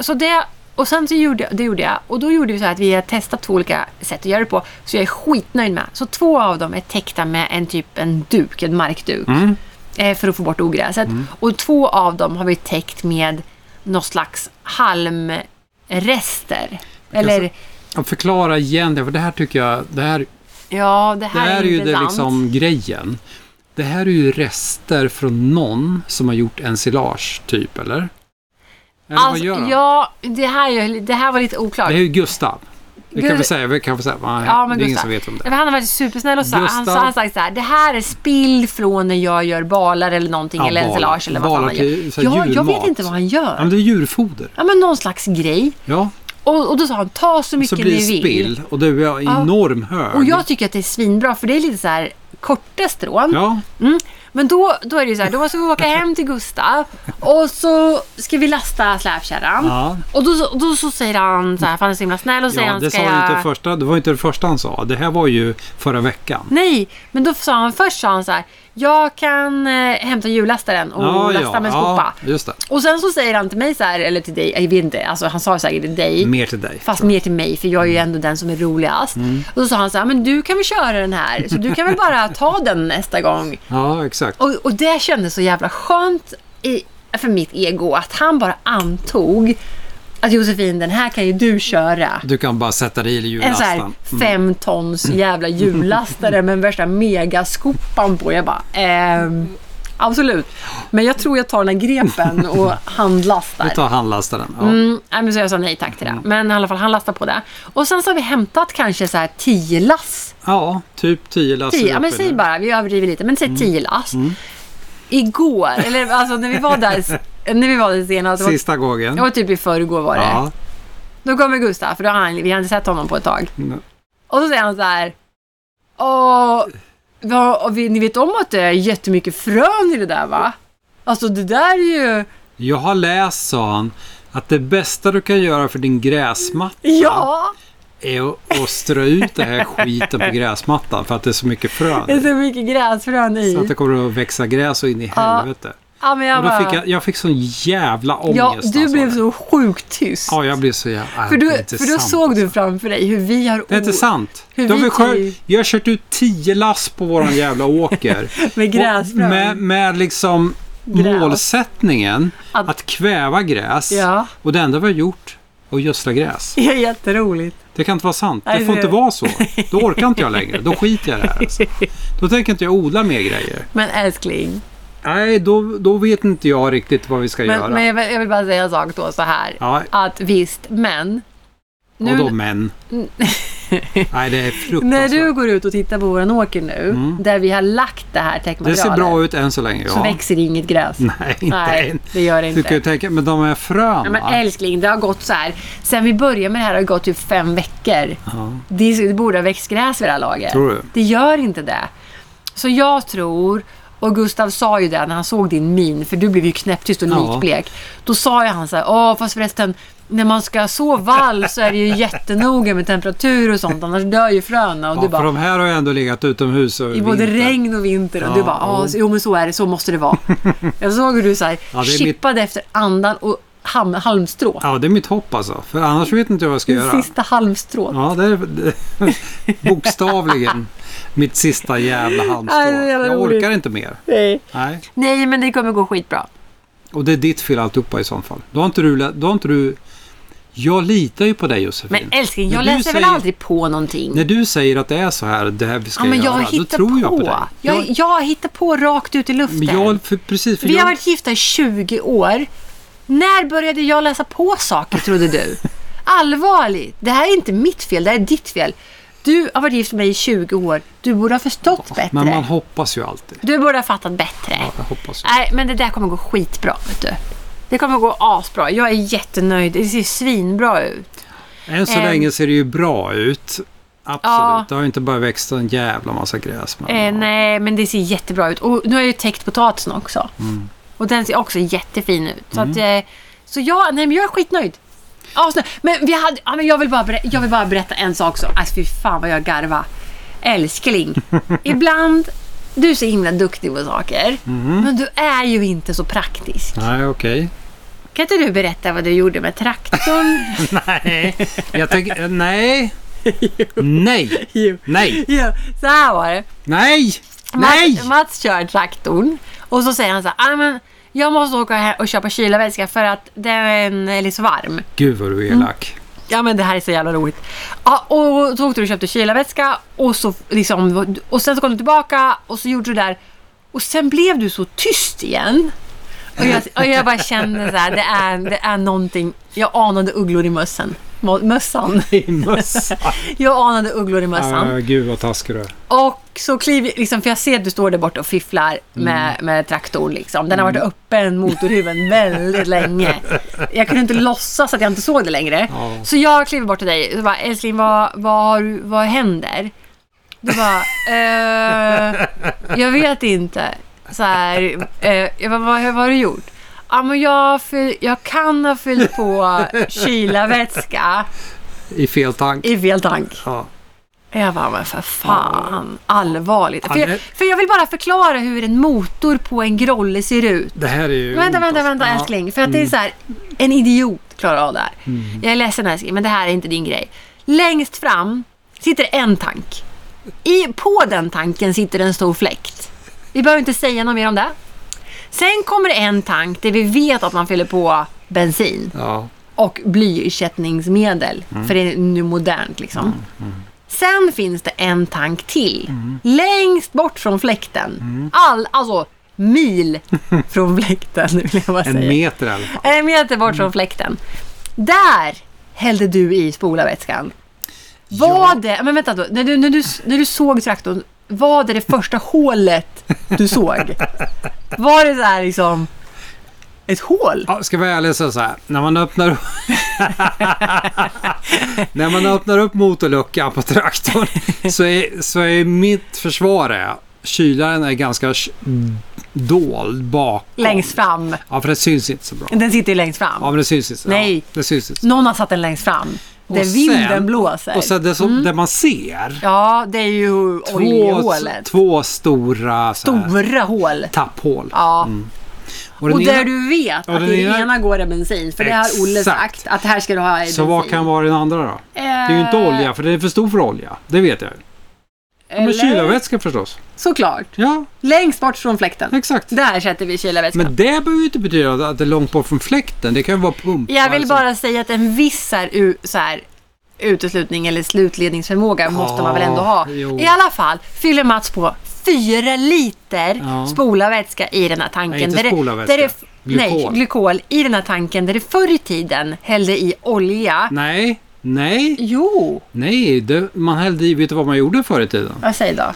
Speaker 2: så det, och sen så gjorde, jag- det gjorde jag. Och då gjorde vi så här att vi har testat två olika sätt att göra det på. Så jag är skitnöjd med. Så två av dem är täckta med en typ en duk, en markduk.
Speaker 1: Mm.
Speaker 2: Eh, för att få bort ogräset. Och två av dem har vi täckt med någon slags halmrester. Eller,
Speaker 1: Ja, Förklara igen det, för det här tycker jag, det här,
Speaker 2: ja det
Speaker 1: det
Speaker 2: här,
Speaker 1: här är ju det
Speaker 2: intressant.
Speaker 1: liksom grejen. Det här är ju rester från någon som har gjort ensilage typ, eller? Eller vad
Speaker 2: Alltså,
Speaker 1: gör han?
Speaker 2: ja, det här, är ju- det här var lite
Speaker 1: Det
Speaker 2: oklart.
Speaker 1: är ju Gustav. Det kan vi säga. Vi kan väl säga nej,
Speaker 2: Ja, men
Speaker 1: det är ingen
Speaker 2: Gustav.
Speaker 1: som vet om det.
Speaker 2: Ja, men han har varit supersnäll och så. Han, så
Speaker 1: Gustav.
Speaker 2: han har sagt så här, det här är spill från när jag gör balar eller någonting.
Speaker 1: Ja,
Speaker 2: eller
Speaker 1: balar.
Speaker 2: ensilage eller vad fan
Speaker 1: Balar
Speaker 2: han gör.
Speaker 1: till så här
Speaker 2: Ja, jag
Speaker 1: julmat.
Speaker 2: vet inte vad han
Speaker 1: Ja, men
Speaker 2: gör.
Speaker 1: det är djurfoder.
Speaker 2: Ja, men någon slags grej.
Speaker 1: Ja,
Speaker 2: Och, och då sa han, ta så
Speaker 1: så
Speaker 2: mycket
Speaker 1: blir det
Speaker 2: ni vill.
Speaker 1: spill och det är en
Speaker 2: Ja.
Speaker 1: enorm hög.
Speaker 2: Och jag tycker att det är svinbra för det är lite så här korta strån.
Speaker 1: Ja,
Speaker 2: Mm. Men då, då är det ju så här, då måste vi åka hem till Gustav och så ska vi lasta släpkärran.
Speaker 1: Ja.
Speaker 2: Och då, så- då så säger han så här, för han är så himla snäll och säger
Speaker 1: ja
Speaker 2: han
Speaker 1: det,
Speaker 2: ska
Speaker 1: sa jag...
Speaker 2: jag...
Speaker 1: inte första, det var inte det första han sa. Det här var ju förra veckan.
Speaker 2: Nej, men då sa han först sa han så här, jag kan eh, hämta hjullastaren och lasta med skopa.
Speaker 1: ja, just det.
Speaker 2: Och sen så säger han till mig så här, eller till dig, jag vet inte, alltså han sa säkert till dig.
Speaker 1: Mer till dig.
Speaker 2: Fast mer till mig, för jag är ju ändå den som är roligast.
Speaker 1: Mm.
Speaker 2: Och då sa han så här, men du kan väl köra den här, så du kan väl bara ta den nästa gång.
Speaker 1: Ja, exakt.
Speaker 2: Och, och det kändes så jävla skönt i, för mitt ego att han bara antog att Josefin, den här kan ju du köra.
Speaker 1: Du kan bara sätta dig i
Speaker 2: En så här
Speaker 1: jullastaren.
Speaker 2: fem tons jävla hjullastare med värsta megaskopan på. Jag bara, ehm, absolut. Men jag tror jag tar den här grepen och handlastar.
Speaker 1: Du tar handlastaren. Ja.
Speaker 2: Mm, nej, men så jag sa nej tack till det. Men i alla fall, han lastar på det. Och sen så har vi hämtat kanske så här 10 lass
Speaker 1: ja, typ 10 lass.
Speaker 2: tio, ja, men
Speaker 1: uppe
Speaker 2: säg
Speaker 1: nu.
Speaker 2: bara, vi överdriver lite, men säg
Speaker 1: Mm.
Speaker 2: tio lass. Igår, eller alltså när vi var där, när vi var där senast, det var,
Speaker 1: Sista gången.
Speaker 2: det var typ i förrgår var det.
Speaker 1: Ja.
Speaker 2: Då kommer Gustav, för då har han, vi har inte sett honom på ett tag.
Speaker 1: Mm.
Speaker 2: Och så säger han så här, Åh, vad, och vi, ni vet om att det är jättemycket frön i det där va? Alltså det där är ju,
Speaker 1: Jag har läst, sa han, att det bästa du kan göra för din gräsmatta
Speaker 2: ja,
Speaker 1: är att, att strö ut den här skiten på gräsmattan för att det är så mycket frön.
Speaker 2: det är så mycket gräsfrön
Speaker 1: Så att
Speaker 2: i.
Speaker 1: det kommer att växa gräs och in i
Speaker 2: Ja.
Speaker 1: helvete.
Speaker 2: Ja, men jag
Speaker 1: Och då
Speaker 2: bara,
Speaker 1: fick jag, jag fick sån jävla ångest.
Speaker 2: ja,
Speaker 1: när han
Speaker 2: du
Speaker 1: sa
Speaker 2: blev
Speaker 1: det.
Speaker 2: så sjukt tyst.
Speaker 1: Ja, jag blev så jävla...
Speaker 2: För,
Speaker 1: det
Speaker 2: du,
Speaker 1: är inte
Speaker 2: för då
Speaker 1: sant,
Speaker 2: såg du
Speaker 1: alltså.
Speaker 2: framför dig hur vi har
Speaker 1: Det är inte
Speaker 2: o-
Speaker 1: sant.
Speaker 2: hur
Speaker 1: Då har
Speaker 2: vi
Speaker 1: vi skör,
Speaker 2: till-
Speaker 1: jag har kört ut tio lass på våran jävla åker.
Speaker 2: Med gräsfrön.
Speaker 1: Och Med, med liksom
Speaker 2: Gräs.
Speaker 1: målsättningen
Speaker 2: Att-
Speaker 1: att, kväva gräs.
Speaker 2: Ja.
Speaker 1: Och det enda vi har gjort är att gödsla gräs.
Speaker 2: Det är jätteroligt.
Speaker 1: Det kan inte vara sant.
Speaker 2: Nej,
Speaker 1: Det får
Speaker 2: det-
Speaker 1: inte vara så. Då orkar inte jag längre. Då skiter jag i det här. Alltså. Då tänker inte jag odla mer grejer.
Speaker 2: Men älskling,
Speaker 1: Nej, då, då vet inte jag riktigt vad vi ska göra.
Speaker 2: men, men jag, vill, jag vill bara säga en sak då så här.
Speaker 1: Ja,
Speaker 2: Att visst, men.
Speaker 1: och då
Speaker 2: Nu,
Speaker 1: män. Nej, det alltså. är
Speaker 2: när
Speaker 1: fruktansvärt.
Speaker 2: du går ut och tittar på våran åker nu, där vi har lagt det här
Speaker 1: Det
Speaker 2: täckmaterialet,
Speaker 1: ser bra ut än så länge.
Speaker 2: så
Speaker 1: Ja.
Speaker 2: växer inget gräs.
Speaker 1: Nej, inte
Speaker 2: Nej,
Speaker 1: än.
Speaker 2: det gör det
Speaker 1: Du kan ju
Speaker 2: inte.
Speaker 1: tänka, men de här
Speaker 2: Ja,
Speaker 1: fröna.
Speaker 2: men älskling, det har gått så här. Sen vi började med det här har det gått typ fem veckor.
Speaker 1: Ja,
Speaker 2: Det, är så- det borde ha växt gräs vid det här laget.
Speaker 1: Tror du?
Speaker 2: Det gör inte det. Så jag tror, och Gustav sa ju det när han såg din min, för du blev ju knäpptyst och
Speaker 1: Ja.
Speaker 2: likblek. Då sa ju han så här, åh fast förresten, när man ska så vall så är det ju jättenoga med temperatur och sånt, annars dör ju fröna. Och
Speaker 1: ja,
Speaker 2: du
Speaker 1: för
Speaker 2: bara,
Speaker 1: de här har ju ändå legat utomhus över
Speaker 2: i både
Speaker 1: vintern.
Speaker 2: regn och vinter. Och
Speaker 1: Ja,
Speaker 2: du bara, ja,
Speaker 1: jo.
Speaker 2: så- jo men så är det, så måste det vara. jag såg hur du så här,
Speaker 1: Ja, det är
Speaker 2: chippade efter andan och ham- halmstrå.
Speaker 1: Ja, det är mitt hopp alltså. För annars vet inte jag vad jag ska
Speaker 2: Det
Speaker 1: göra.
Speaker 2: sista halmstrået.
Speaker 1: Ja, det är det, bokstavligen mitt sista jävla halmstrå.
Speaker 2: Nej, det är jävla
Speaker 1: Jag
Speaker 2: roligt.
Speaker 1: orkar inte mer.
Speaker 2: Nej.
Speaker 1: Nej.
Speaker 2: Nej, men det kommer gå skitbra.
Speaker 1: Och det är ditt fel alltihopa i så fall. Då har inte du... lä- Då har inte du jag litar ju på dig Josefin.
Speaker 2: Men eh, älskling, jag
Speaker 1: När du
Speaker 2: läser väl
Speaker 1: säger-
Speaker 2: aldrig på någonting?
Speaker 1: När du säger att det är så här, det här vi ska
Speaker 2: Ja, men jag
Speaker 1: göra, då
Speaker 2: hittar
Speaker 1: tror
Speaker 2: på.
Speaker 1: jag på dig.
Speaker 2: Jag, jag hittar på rakt ut i luften.
Speaker 1: men jag, för, precis, för
Speaker 2: Vi har
Speaker 1: jag,
Speaker 2: varit gifta i 20 år. När började jag läsa på saker, trodde du? Allvarligt, det här är inte mitt fel, det här är ditt fel. Du har varit gift med mig i 20 år. Du borde ha förstått bättre.
Speaker 1: men man hoppas ju alltid.
Speaker 2: Du borde ha fattat bättre.
Speaker 1: Jag hoppas ju.
Speaker 2: Nej, men det där kommer gå skitbra, vet du. Det kommer gå asbra. Jag är jättenöjd. Det ser svinbra ut.
Speaker 1: Än så
Speaker 2: Ehm.
Speaker 1: länge ser det ju bra ut. Absolut.
Speaker 2: Ja.
Speaker 1: Det har ju inte bara växt en jävla massa gräs. Men,
Speaker 2: Eh, nej, men det ser jättebra ut. Och nu har jag ju täckt potatisen också. Och den ser också jättefin ut. Så, att, eh, så jag, nej, men jag är skitnöjd. Asnöjd. Men, vi hade, ja, men jag, vill bara berä, jag vill bara berätta en sak också. Alltså fy fan vad jag garva. Älskling, ibland... Du är så himla duktig på saker, men du är ju inte så praktisk.
Speaker 1: Nej, okej.
Speaker 2: Kan inte du berätta vad du gjorde med traktorn?
Speaker 1: Nej. Jag tänker, eh, nej. Nej.
Speaker 2: Jo.
Speaker 1: Nej.
Speaker 2: ja, så här var det.
Speaker 1: Nej. Nej.
Speaker 2: Mats, Mats kör traktorn och så säger han så här, "Ah, men jag måste åka hem och köpa kylarvätska för att den är lite så varm.
Speaker 1: Gud vad
Speaker 2: Mm.
Speaker 1: du är elak.
Speaker 2: Ja men det här är så jävla roligt. Ja, och så åkte du och köpte kylarvätska och, så liksom, och sen så kom du tillbaka och så gjorde du det där och sen blev du så tyst igen. Och jag, och jag bara känner så här, det är, det är någonting. Jag anade ugglor i mössen. Må- Mössan.
Speaker 1: I mössa.
Speaker 2: Jag anade ugglor i mössan.
Speaker 1: Ah, gud vad taskig du är.
Speaker 2: Och så kliver, liksom, för jag ser att du står där borta och fifflar med, med traktorn. Liksom. Den har varit öppen, motorhuven, väldigt länge. Jag kunde inte låtsas att jag inte såg det längre.
Speaker 1: Ja.
Speaker 2: Så jag kliver bort till dig och bara, älskling vad, vad, har du- vad händer? Du bara, eh, jag vet inte. Så här, eh, jag bara, vad, vad har du gjort? Ja, men jag, fyll, jag kan ha fyllt på kylarvätska
Speaker 1: I fel tank.
Speaker 2: i fel tank.
Speaker 1: Ja.
Speaker 2: Jag bara, men för fan. Allvarligt. För
Speaker 1: Ja,
Speaker 2: jag,
Speaker 1: det-
Speaker 2: för jag vill bara förklara hur en motor på en Grolle ser ut.
Speaker 1: Det här är ju...
Speaker 2: Vänta,
Speaker 1: ont,
Speaker 2: vänta,
Speaker 1: alltså.
Speaker 2: vänta älskling. För att det är så här, en idiot klarar av det här.
Speaker 1: Mm.
Speaker 2: Jag är ledsen älskling, men det här är inte din grej. Längst fram sitter en tank. I, på den tanken sitter en stor fläkt. Vi behöver inte säga något mer om det. Sen kommer det en tank där vi vet att man fyller på bensin
Speaker 1: Ja.
Speaker 2: och blyersättningsmedel.
Speaker 1: Mm.
Speaker 2: För det är nu modernt liksom. Sen finns det en tank till.
Speaker 1: Mm.
Speaker 2: Längst bort från fläkten. All, alltså mil från fläkten vill jag bara
Speaker 1: ja. En Mm.
Speaker 2: säga.
Speaker 1: meter i alla fall.
Speaker 2: En meter bort från fläkten. Där hällde du i spolarvätskan. Var det, men vänta då, när du, när, du, när du såg traktorn, var det det första hålet du såg? Var det så här liksom ett hål?
Speaker 1: Ja, ska jag vara ärlig så så här. När man öppnar upp... när man öppnar upp motorluckan på traktorn så är, så är mitt försvar är kylaren är ganska sh- dold bakom.
Speaker 2: Längst fram.
Speaker 1: Ja, för det syns inte så bra.
Speaker 2: Den sitter ju längst fram.
Speaker 1: Ja, men det syns inte. så-
Speaker 2: Nej.
Speaker 1: Ja, det syns inte. så-
Speaker 2: Någon har satt den längst fram. Där
Speaker 1: Och
Speaker 2: vinden
Speaker 1: sen-
Speaker 2: blåser.
Speaker 1: Och sen det, som,
Speaker 2: Mm.
Speaker 1: det man ser.
Speaker 2: ja, det är ju
Speaker 1: Två,
Speaker 2: oljehålet.
Speaker 1: två stora så här,
Speaker 2: Stora hål.
Speaker 1: tapphål.
Speaker 2: Ja.
Speaker 1: Mm. Och den
Speaker 2: Och där
Speaker 1: ena-
Speaker 2: du vet
Speaker 1: och
Speaker 2: att
Speaker 1: den
Speaker 2: i den
Speaker 1: ena-
Speaker 2: ena går det bensin. För det har Olle
Speaker 1: Exakt.
Speaker 2: sagt. Att här ska du ha bensin. Eh,
Speaker 1: Så vad kan vara den andra då? Det är ju inte olja, för den är för stor för olja. Det vet jag ju. Men kylarvätska förstås.
Speaker 2: Såklart.
Speaker 1: Ja,
Speaker 2: Längst bort från fläkten.
Speaker 1: exakt.
Speaker 2: Där sätter vi kylarvätskan.
Speaker 1: Men det behöver ju inte betyda att det är långt bort från fläkten. Det kan ju vara Alltså, pumpar.
Speaker 2: Jag vill
Speaker 1: som-
Speaker 2: bara säga att en viss så här, u- så här, uteslutning eller slutledningsförmåga måste man väl ändå ha.
Speaker 1: jo.
Speaker 2: I alla fall fyller Mats på fyra liter
Speaker 1: Ja.
Speaker 2: spolarvätska i den här tanken.
Speaker 1: Nej, inte
Speaker 2: det-
Speaker 1: spolarvätska.
Speaker 2: det- Nej,
Speaker 1: Glykol.
Speaker 2: glykol. I den här tanken där det förr i tiden hällde i olja.
Speaker 1: Nej, nej,
Speaker 2: Jo,
Speaker 1: nej. Det, man hällde i, vet du vad man gjorde förr i tiden?
Speaker 2: vad säger då?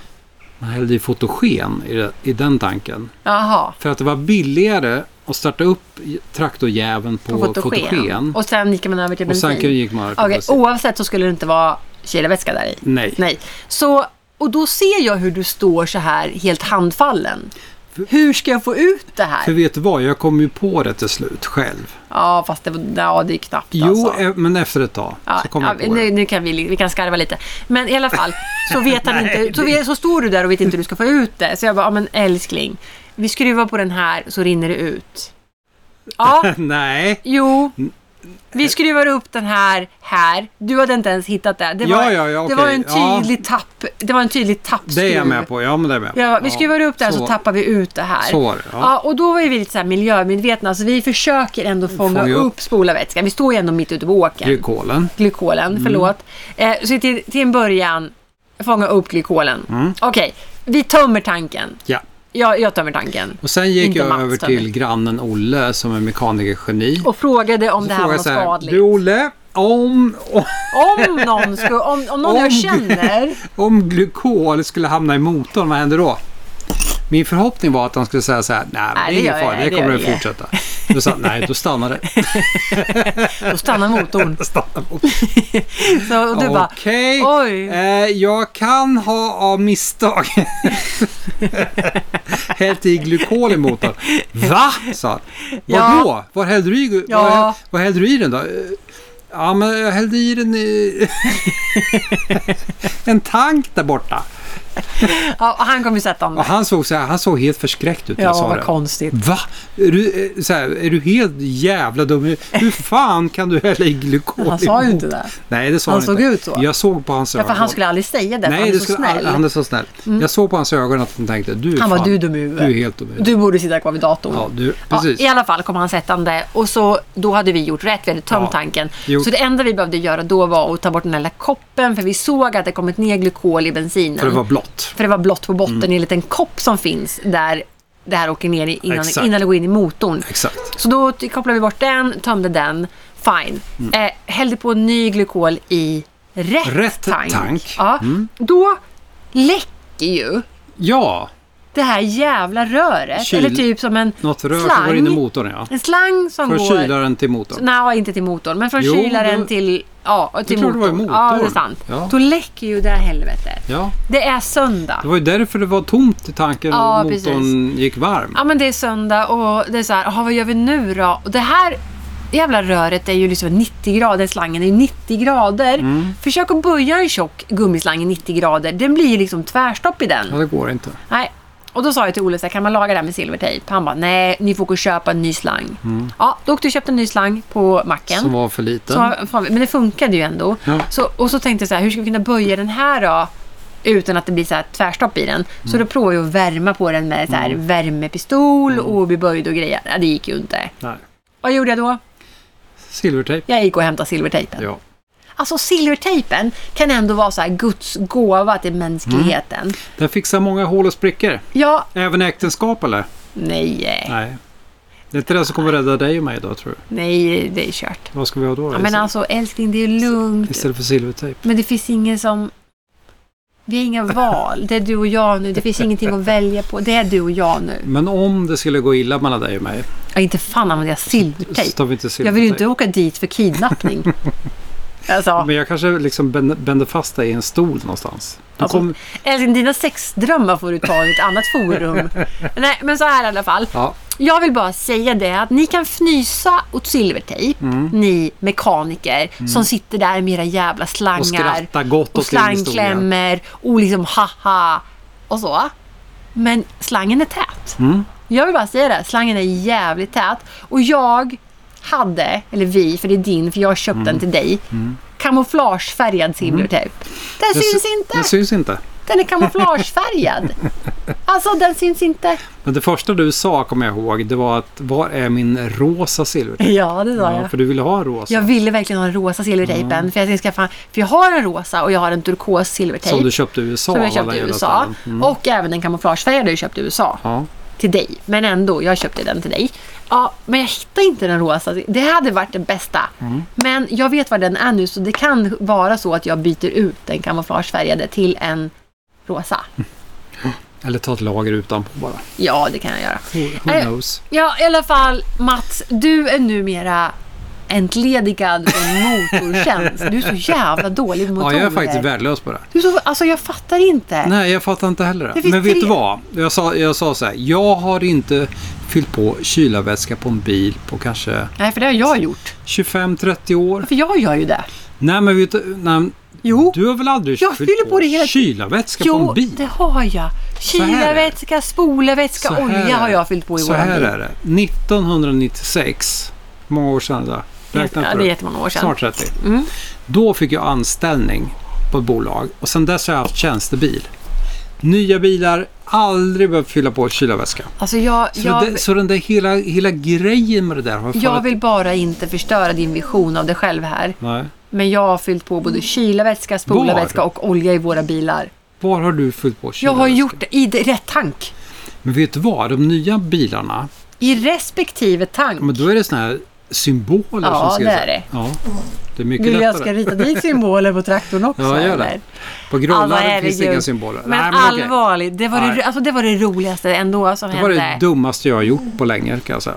Speaker 1: Man hällde i fotogen i, det- i den tanken.
Speaker 2: Jaha,
Speaker 1: För att det var billigare att starta upp i- traktorjäveln på,
Speaker 2: på fotogen.
Speaker 1: fotogen.
Speaker 2: Och sen gick man över till
Speaker 1: Och sen
Speaker 2: bensin.
Speaker 1: gick man över till
Speaker 2: Okej,
Speaker 1: bensin.
Speaker 2: Oavsett så skulle det inte vara kylarvätska där i.
Speaker 1: Nej.
Speaker 2: Nej. Så, och då ser jag hur du står så här helt handfallen. Hur ska jag få ut det
Speaker 1: För
Speaker 2: här?
Speaker 1: vet du vad, jag kom ju på det till slut själv.
Speaker 2: Ja, fast det, var- ja, det är knappt
Speaker 1: Jo,
Speaker 2: alltså.
Speaker 1: eh, men efter ett tag
Speaker 2: Ja,
Speaker 1: så kom jag
Speaker 2: ja,
Speaker 1: på
Speaker 2: nu,
Speaker 1: det.
Speaker 2: nu kan vi, li- vi kan skarva lite. Men i alla fall, så, vet han inte, så, vi- så står du där och vet inte hur du ska få ut det. Så jag bara, ja, men älskling, vi skruvar på den här så rinner det ut. Ja,
Speaker 1: Nej.
Speaker 2: jo.
Speaker 1: Mm.
Speaker 2: Vi skruvar upp den här, här. Du hade inte ens hittat det. Det var,
Speaker 1: Ja, ja, ja,
Speaker 2: det
Speaker 1: okej.
Speaker 2: var en
Speaker 1: Ja.
Speaker 2: tydlig tapp. Det var en tydlig tappskruv.
Speaker 1: Det är jag med på. Ja, men det är jag med på.
Speaker 2: Ja, vi skruvar upp det här så, tappar vi ut det här.
Speaker 1: Så var det,
Speaker 2: ja.
Speaker 1: ja.
Speaker 2: och då var ju vi lite så här miljömedvetna så vi försöker ändå fånga
Speaker 1: Fånga
Speaker 2: upp,
Speaker 1: upp.
Speaker 2: spolarvätskan. Vi står ju ändå mitt ute på åkern.
Speaker 1: Glykolen.
Speaker 2: glykolen,
Speaker 1: Mm.
Speaker 2: förlåt. Eh, så till, till en början fånga upp glykolen. Okej, vi tömmer tanken.
Speaker 1: Mm. Ja.
Speaker 2: Jag, jag tömmer tanken.
Speaker 1: Och sen gick
Speaker 2: Inte
Speaker 1: jag
Speaker 2: Mats
Speaker 1: över
Speaker 2: tömmer.
Speaker 1: till grannen Olle som är mekanikergeni.
Speaker 2: Och frågade om det här var något
Speaker 1: så här,
Speaker 2: skadligt.
Speaker 1: Du Olle, om, om,
Speaker 2: Om någon, skulle, om, om någon
Speaker 1: Om-
Speaker 2: jag känner...
Speaker 1: om glykol skulle hamna i motorn, vad händer då? Min förhoppning var att han skulle säga så här, nej,
Speaker 2: Nej,
Speaker 1: men
Speaker 2: det
Speaker 1: det är
Speaker 2: gör
Speaker 1: ingen fara,
Speaker 2: jag,
Speaker 1: det
Speaker 2: det
Speaker 1: kommer
Speaker 2: gör
Speaker 1: att
Speaker 2: jag."
Speaker 1: fortsätta. Då sa han, nej, då stannar det.
Speaker 2: Då stannar motorn.
Speaker 1: Stannar
Speaker 2: Så, och du bara...
Speaker 1: Okej,
Speaker 2: Oj.
Speaker 1: eh, jag kan ha av misstag hällt i glykol i motorn. Va? sa han.
Speaker 2: Ja.
Speaker 1: Vad då? Var hällde du i,
Speaker 2: Ja.
Speaker 1: var, var hällde du i den då? "Eh, Ja, men jag hällde i den i en tank där borta.
Speaker 2: Ja, och han kommer ju sätta om
Speaker 1: Och
Speaker 2: det.
Speaker 1: han såg så här, han såg helt förskräckt ut när jag
Speaker 2: Ja,
Speaker 1: sa
Speaker 2: vad
Speaker 1: det. Mm.
Speaker 2: konstigt.
Speaker 1: Va? Är du, eh, så här, är du helt jävla dum? Hur- Hur fan kan du hälla i glykol
Speaker 2: Han
Speaker 1: i
Speaker 2: sa ju inte
Speaker 1: motorn?"
Speaker 2: det.
Speaker 1: Nej, det sa
Speaker 2: Han
Speaker 1: han,
Speaker 2: såg
Speaker 1: inte.
Speaker 2: ut så.
Speaker 1: Jag såg på hans
Speaker 2: Ja, för han skulle aldrig säga det, för han är
Speaker 1: det
Speaker 2: så
Speaker 1: skulle-
Speaker 2: snäll. Mm.
Speaker 1: Han är så snäll. Jag såg på hans ögon att han tänkte du är
Speaker 2: Han bara,
Speaker 1: fan,
Speaker 2: du är dum i huvudet.
Speaker 1: Du är helt dum i huvudet.
Speaker 2: Du borde sitta kvar vid datorn.
Speaker 1: Ja, du,
Speaker 2: Ja,
Speaker 1: precis.
Speaker 2: I alla fall kom han sättande och så, då hade vi gjort rätt, vi hade tömt
Speaker 1: Ja.
Speaker 2: tanken.
Speaker 1: Jo.
Speaker 2: Så det enda vi behövde göra då var att ta bort den här lilla koppen för vi såg att det kommit ner glykol i bensinen.
Speaker 1: För det var Mm. blått.
Speaker 2: För det var blått på botten i en liten kopp som finns där det här åker ner i innan,
Speaker 1: Exakt.
Speaker 2: innan det går in i motorn.
Speaker 1: Exakt.
Speaker 2: Så då t- kopplar vi bort den, tömde den. Fine. Eh, hällde på ny glykol i rätt,
Speaker 1: Mm. Rätt
Speaker 2: tank.
Speaker 1: tank. Mm.
Speaker 2: Ja. Då läcker ju
Speaker 1: Ja,
Speaker 2: det här jävla röret.
Speaker 1: Kyl-
Speaker 2: Eller typ som en
Speaker 1: något rör som går in i
Speaker 2: slang.
Speaker 1: motorn ja.
Speaker 2: En slang som
Speaker 1: Från
Speaker 2: går...
Speaker 1: kylaren till motorn.
Speaker 2: Nej, inte till motorn. Men från
Speaker 1: Jo,
Speaker 2: kylaren
Speaker 1: det-
Speaker 2: till, ja, till
Speaker 1: tror det var i
Speaker 2: Ja, det är
Speaker 1: motorn.
Speaker 2: sant.
Speaker 1: Ja.
Speaker 2: Då läcker ju det här helvetet.
Speaker 1: Ja,
Speaker 2: Det är söndag.
Speaker 1: det var ju därför det var tomt i tanken och
Speaker 2: Ja,
Speaker 1: motorn
Speaker 2: precis.
Speaker 1: gick varm.
Speaker 2: Ja, men det är söndag och det är så här, aha, vad gör vi nu då? Och det här jävla röret är ju liksom 90 grader, slangen är ju 90 grader.
Speaker 1: Mm.
Speaker 2: Försök att böja en tjock gummislang i 90 grader. Den blir ju liksom tvärstopp i den.
Speaker 1: Ja, det går inte.
Speaker 2: Nej. Och då sa jag till Olle, så här, kan man laga det här med silvertejp? Han bara, nej, ni får gå och köpa en ny slang.
Speaker 1: Mm.
Speaker 2: Ja, då åkte jag och köpte en ny slang på macken.
Speaker 1: Som var för liten.
Speaker 2: Så, fan, men det funkade ju ändå.
Speaker 1: Ja.
Speaker 2: Så, och så tänkte jag så här, hur ska vi kunna böja den här då? Utan att det blir så här tvärstopp i den. Så
Speaker 1: Mm.
Speaker 2: då provade jag att värma på den med så här värmepistol
Speaker 1: Mm.
Speaker 2: och böjd och grejer. Ja, det gick ju inte.
Speaker 1: Nej.
Speaker 2: Vad gjorde jag då?
Speaker 1: Silvertejp.
Speaker 2: Jag gick och hämtade silvertejpen.
Speaker 1: Ja.
Speaker 2: Alltså silvertejpen kan ändå vara så här Guds gåva till mänskligheten.
Speaker 1: Den fixar många hål och sprickor.
Speaker 2: Ja,
Speaker 1: Även i äktenskap
Speaker 2: Eh.
Speaker 1: eller?
Speaker 2: nej,
Speaker 1: Nej. Det är inte det som kommer rädda dig och mig då tror du?
Speaker 2: nej, det är kört.
Speaker 1: Vad ska vi ha då?
Speaker 2: Ja, men
Speaker 1: istället-
Speaker 2: alltså älskling, det är lugnt.
Speaker 1: Istället för silvertejp.
Speaker 2: Men det finns ingen som... Vi har inga val. Det är du och jag nu. Det finns ingenting att välja på. Det är du och jag nu.
Speaker 1: Men om det skulle gå illa mellan dig och mig
Speaker 2: Ja, inte fan använder jag
Speaker 1: så
Speaker 2: silvertejp.
Speaker 1: tar vi inte
Speaker 2: Jag vill
Speaker 1: silvertejp.
Speaker 2: ju inte åka dit för kidnappning. Alltså,
Speaker 1: Men jag kanske liksom bänd- bänder fast dig i en stol någonstans. Du
Speaker 2: Alltså,
Speaker 1: kom...
Speaker 2: älskling, dina sexdrömmar får du ta i ett annat forum. Nej, men så här i alla fall.
Speaker 1: Ja,
Speaker 2: Jag vill bara säga det att ni kan fnysa åt silvertejp,
Speaker 1: Mm.
Speaker 2: ni mekaniker som sitter där med era jävla slangar
Speaker 1: och skratta gott
Speaker 2: och
Speaker 1: åt din historia.
Speaker 2: slangklämmer och liksom haha och så. Men slangen är tät.
Speaker 1: Mm?
Speaker 2: Jag vill bara säga det, slangen är jävligt tät. Och jag hade, eller vi, för det är din, för jag köpte
Speaker 1: Mm.
Speaker 2: den till dig, kamouflagefärgad silvertejp. Den
Speaker 1: Den
Speaker 2: syns
Speaker 1: Mm. sy-
Speaker 2: inte!
Speaker 1: Den syns inte.
Speaker 2: Den är kamouflagefärgad. alltså, den syns inte.
Speaker 1: Men det första du sa, kommer jag ihåg, det var att var är min rosa silvertejp?
Speaker 2: Ja, det sa
Speaker 1: Ja,
Speaker 2: jag.
Speaker 1: för du ville ha en rosa.
Speaker 2: Jag ville verkligen ha den rosa silvertejpen, för, jag ska skaffa, för jag har en rosa och jag har en turkos silvertejp.
Speaker 1: Som du köpte i USA.
Speaker 2: som jag
Speaker 1: av
Speaker 2: köpte
Speaker 1: alla Mm.
Speaker 2: i
Speaker 1: jävla
Speaker 2: USA.
Speaker 1: ställen.
Speaker 2: Och även en kamouflagefärgade jag köpte i USA.
Speaker 1: Ja.
Speaker 2: Till dig. Men ändå, jag köpte den till dig. Ja, men jag hittade inte den rosa. Det hade varit den bästa.
Speaker 1: Mm.
Speaker 2: Men jag vet var den är nu så det kan vara så att jag byter ut den kamouflagefärgade till en rosa.
Speaker 1: Eller ta ett lager utanpå bara.
Speaker 2: Ja, det kan jag göra.
Speaker 1: Who
Speaker 2: Nej.
Speaker 1: knows?
Speaker 2: Ja, i alla fall Mats, du är numera entledigad från motortjänst. Du är så jävla dålig mot
Speaker 1: Ja,
Speaker 2: motorer.
Speaker 1: jag är faktiskt värdelös på det.
Speaker 2: Du är så, alltså jag fattar inte.
Speaker 1: Nej, jag fattar inte heller
Speaker 2: Det
Speaker 1: det.
Speaker 2: finns
Speaker 1: Men vet
Speaker 2: tre-
Speaker 1: du vad? Jag sa, jag sa så här. Jag har inte fyllt på kylarvätska på en bil på kanske
Speaker 2: Nej, för det har jag gjort.
Speaker 1: 25-30 år.
Speaker 2: För jag gör ju det.
Speaker 1: Nej, men vet du, nej,
Speaker 2: Jo.
Speaker 1: du har väl aldrig
Speaker 2: Jag
Speaker 1: fyllt
Speaker 2: fyller på det hela tiden.
Speaker 1: kylarvätska på
Speaker 2: Jo,
Speaker 1: en bil?
Speaker 2: det har jag.
Speaker 1: här är det.
Speaker 2: Kylarvätska, spolarvätska,
Speaker 1: Så här är det.
Speaker 2: olja har jag fyllt på i
Speaker 1: Så
Speaker 2: våran
Speaker 1: här
Speaker 2: bil.
Speaker 1: är det. 1996, hur många år sedan då? Räkna
Speaker 2: Ja,
Speaker 1: på
Speaker 2: det är jättemånga år sedan.
Speaker 1: Snart 30.
Speaker 2: Mm.
Speaker 1: Då fick jag anställning på ett bolag och sedan dess har jag haft tjänstebil. Nya bilar, aldrig behövt fylla på kylarväska.
Speaker 2: Alltså jag,
Speaker 1: Så,
Speaker 2: jag,
Speaker 1: det, så den där hela, hela grejen med det där har
Speaker 2: jag
Speaker 1: fallit-
Speaker 2: vill bara inte förstöra din vision av dig själv här.
Speaker 1: Nej.
Speaker 2: Men jag har fyllt på både kylarvätska, spolarvätska och olja i våra bilar.
Speaker 1: Var har du fyllt på
Speaker 2: Jag
Speaker 1: kylarväska?
Speaker 2: har gjort det i d- rätt tank.
Speaker 1: Men vet du vad? De nya bilarna,
Speaker 2: I respektive tank.
Speaker 1: men då är det såna här symboler
Speaker 2: Ja,
Speaker 1: som ska
Speaker 2: det är det.
Speaker 1: Ja, det är mycket
Speaker 2: Vill jag
Speaker 1: lättare.
Speaker 2: ska rita dit symboler på traktorn också?
Speaker 1: Ja, gör det.
Speaker 2: eller?
Speaker 1: På grollaren finns det
Speaker 2: herregud.
Speaker 1: inga symboler.
Speaker 2: Men,
Speaker 1: Nej, okej.
Speaker 2: allvarligt, det var det,
Speaker 1: Nej.
Speaker 2: alltså, det var det roligaste ändå som
Speaker 1: Det var
Speaker 2: hände.
Speaker 1: det dummaste jag har gjort på länge kan jag säga.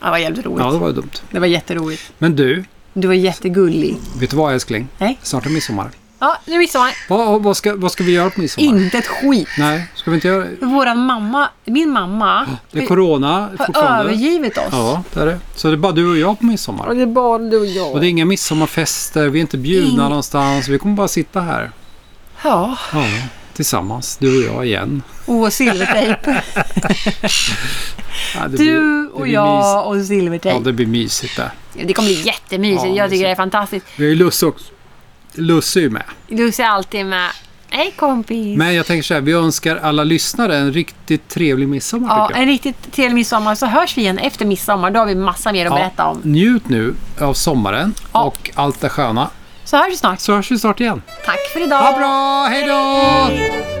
Speaker 2: Ja, det var jävligt roligt.
Speaker 1: Ja, det var dumt.
Speaker 2: Det var jätteroligt.
Speaker 1: Men du,
Speaker 2: Du var jättegullig.
Speaker 1: vet du vad älskling?
Speaker 2: Nej.
Speaker 1: Snart är midsommar.
Speaker 2: Ja, nu är midsommar.
Speaker 1: Vad, vad, ska, vad ska vi göra på midsommar?
Speaker 2: Inte ett skit.
Speaker 1: Nej, ska vi inte göra
Speaker 2: Våran mamma, min mamma,
Speaker 1: det? är corona
Speaker 2: har
Speaker 1: fortfarande.
Speaker 2: övergivit oss.
Speaker 1: Ja, det är det. Så det är bara du och jag på midsommar.
Speaker 2: Och det är bara du och jag.
Speaker 1: Och det är inga midsommarfester, vi är inte bjudna
Speaker 2: Ing-
Speaker 1: någonstans. Vi kommer bara sitta här.
Speaker 2: Ja,
Speaker 1: Ja, tillsammans, du och jag igen.
Speaker 2: och silvertejp.
Speaker 1: Ja, det blir-
Speaker 2: Du
Speaker 1: det
Speaker 2: och
Speaker 1: blir mysigt.
Speaker 2: jag och
Speaker 1: Ja,
Speaker 2: silvertejp.
Speaker 1: det blir mysigt där.
Speaker 2: Det kommer bli jättemysigt.
Speaker 1: Ja,
Speaker 2: jag tycker det är
Speaker 1: mysigt.
Speaker 2: fantastiskt.
Speaker 1: Vi har ju Lusse också. Lusse är ju med.
Speaker 2: Du ser alltid med. Hej kompis.
Speaker 1: Men jag tänker så här, vi önskar alla lyssnare en riktigt trevlig midsommar.
Speaker 2: Ja,
Speaker 1: tycker jag.
Speaker 2: en riktigt trevlig midsommar. Så hörs vi igen efter midsommar. Då har vi massa mer att berätta om.
Speaker 1: Njut nu av sommaren
Speaker 2: Ja.
Speaker 1: och allt det sköna.
Speaker 2: Så hörs vi snart.
Speaker 1: Så hörs vi snart igen.
Speaker 2: Tack för idag.
Speaker 1: Ha bra, hej då!
Speaker 2: Hej.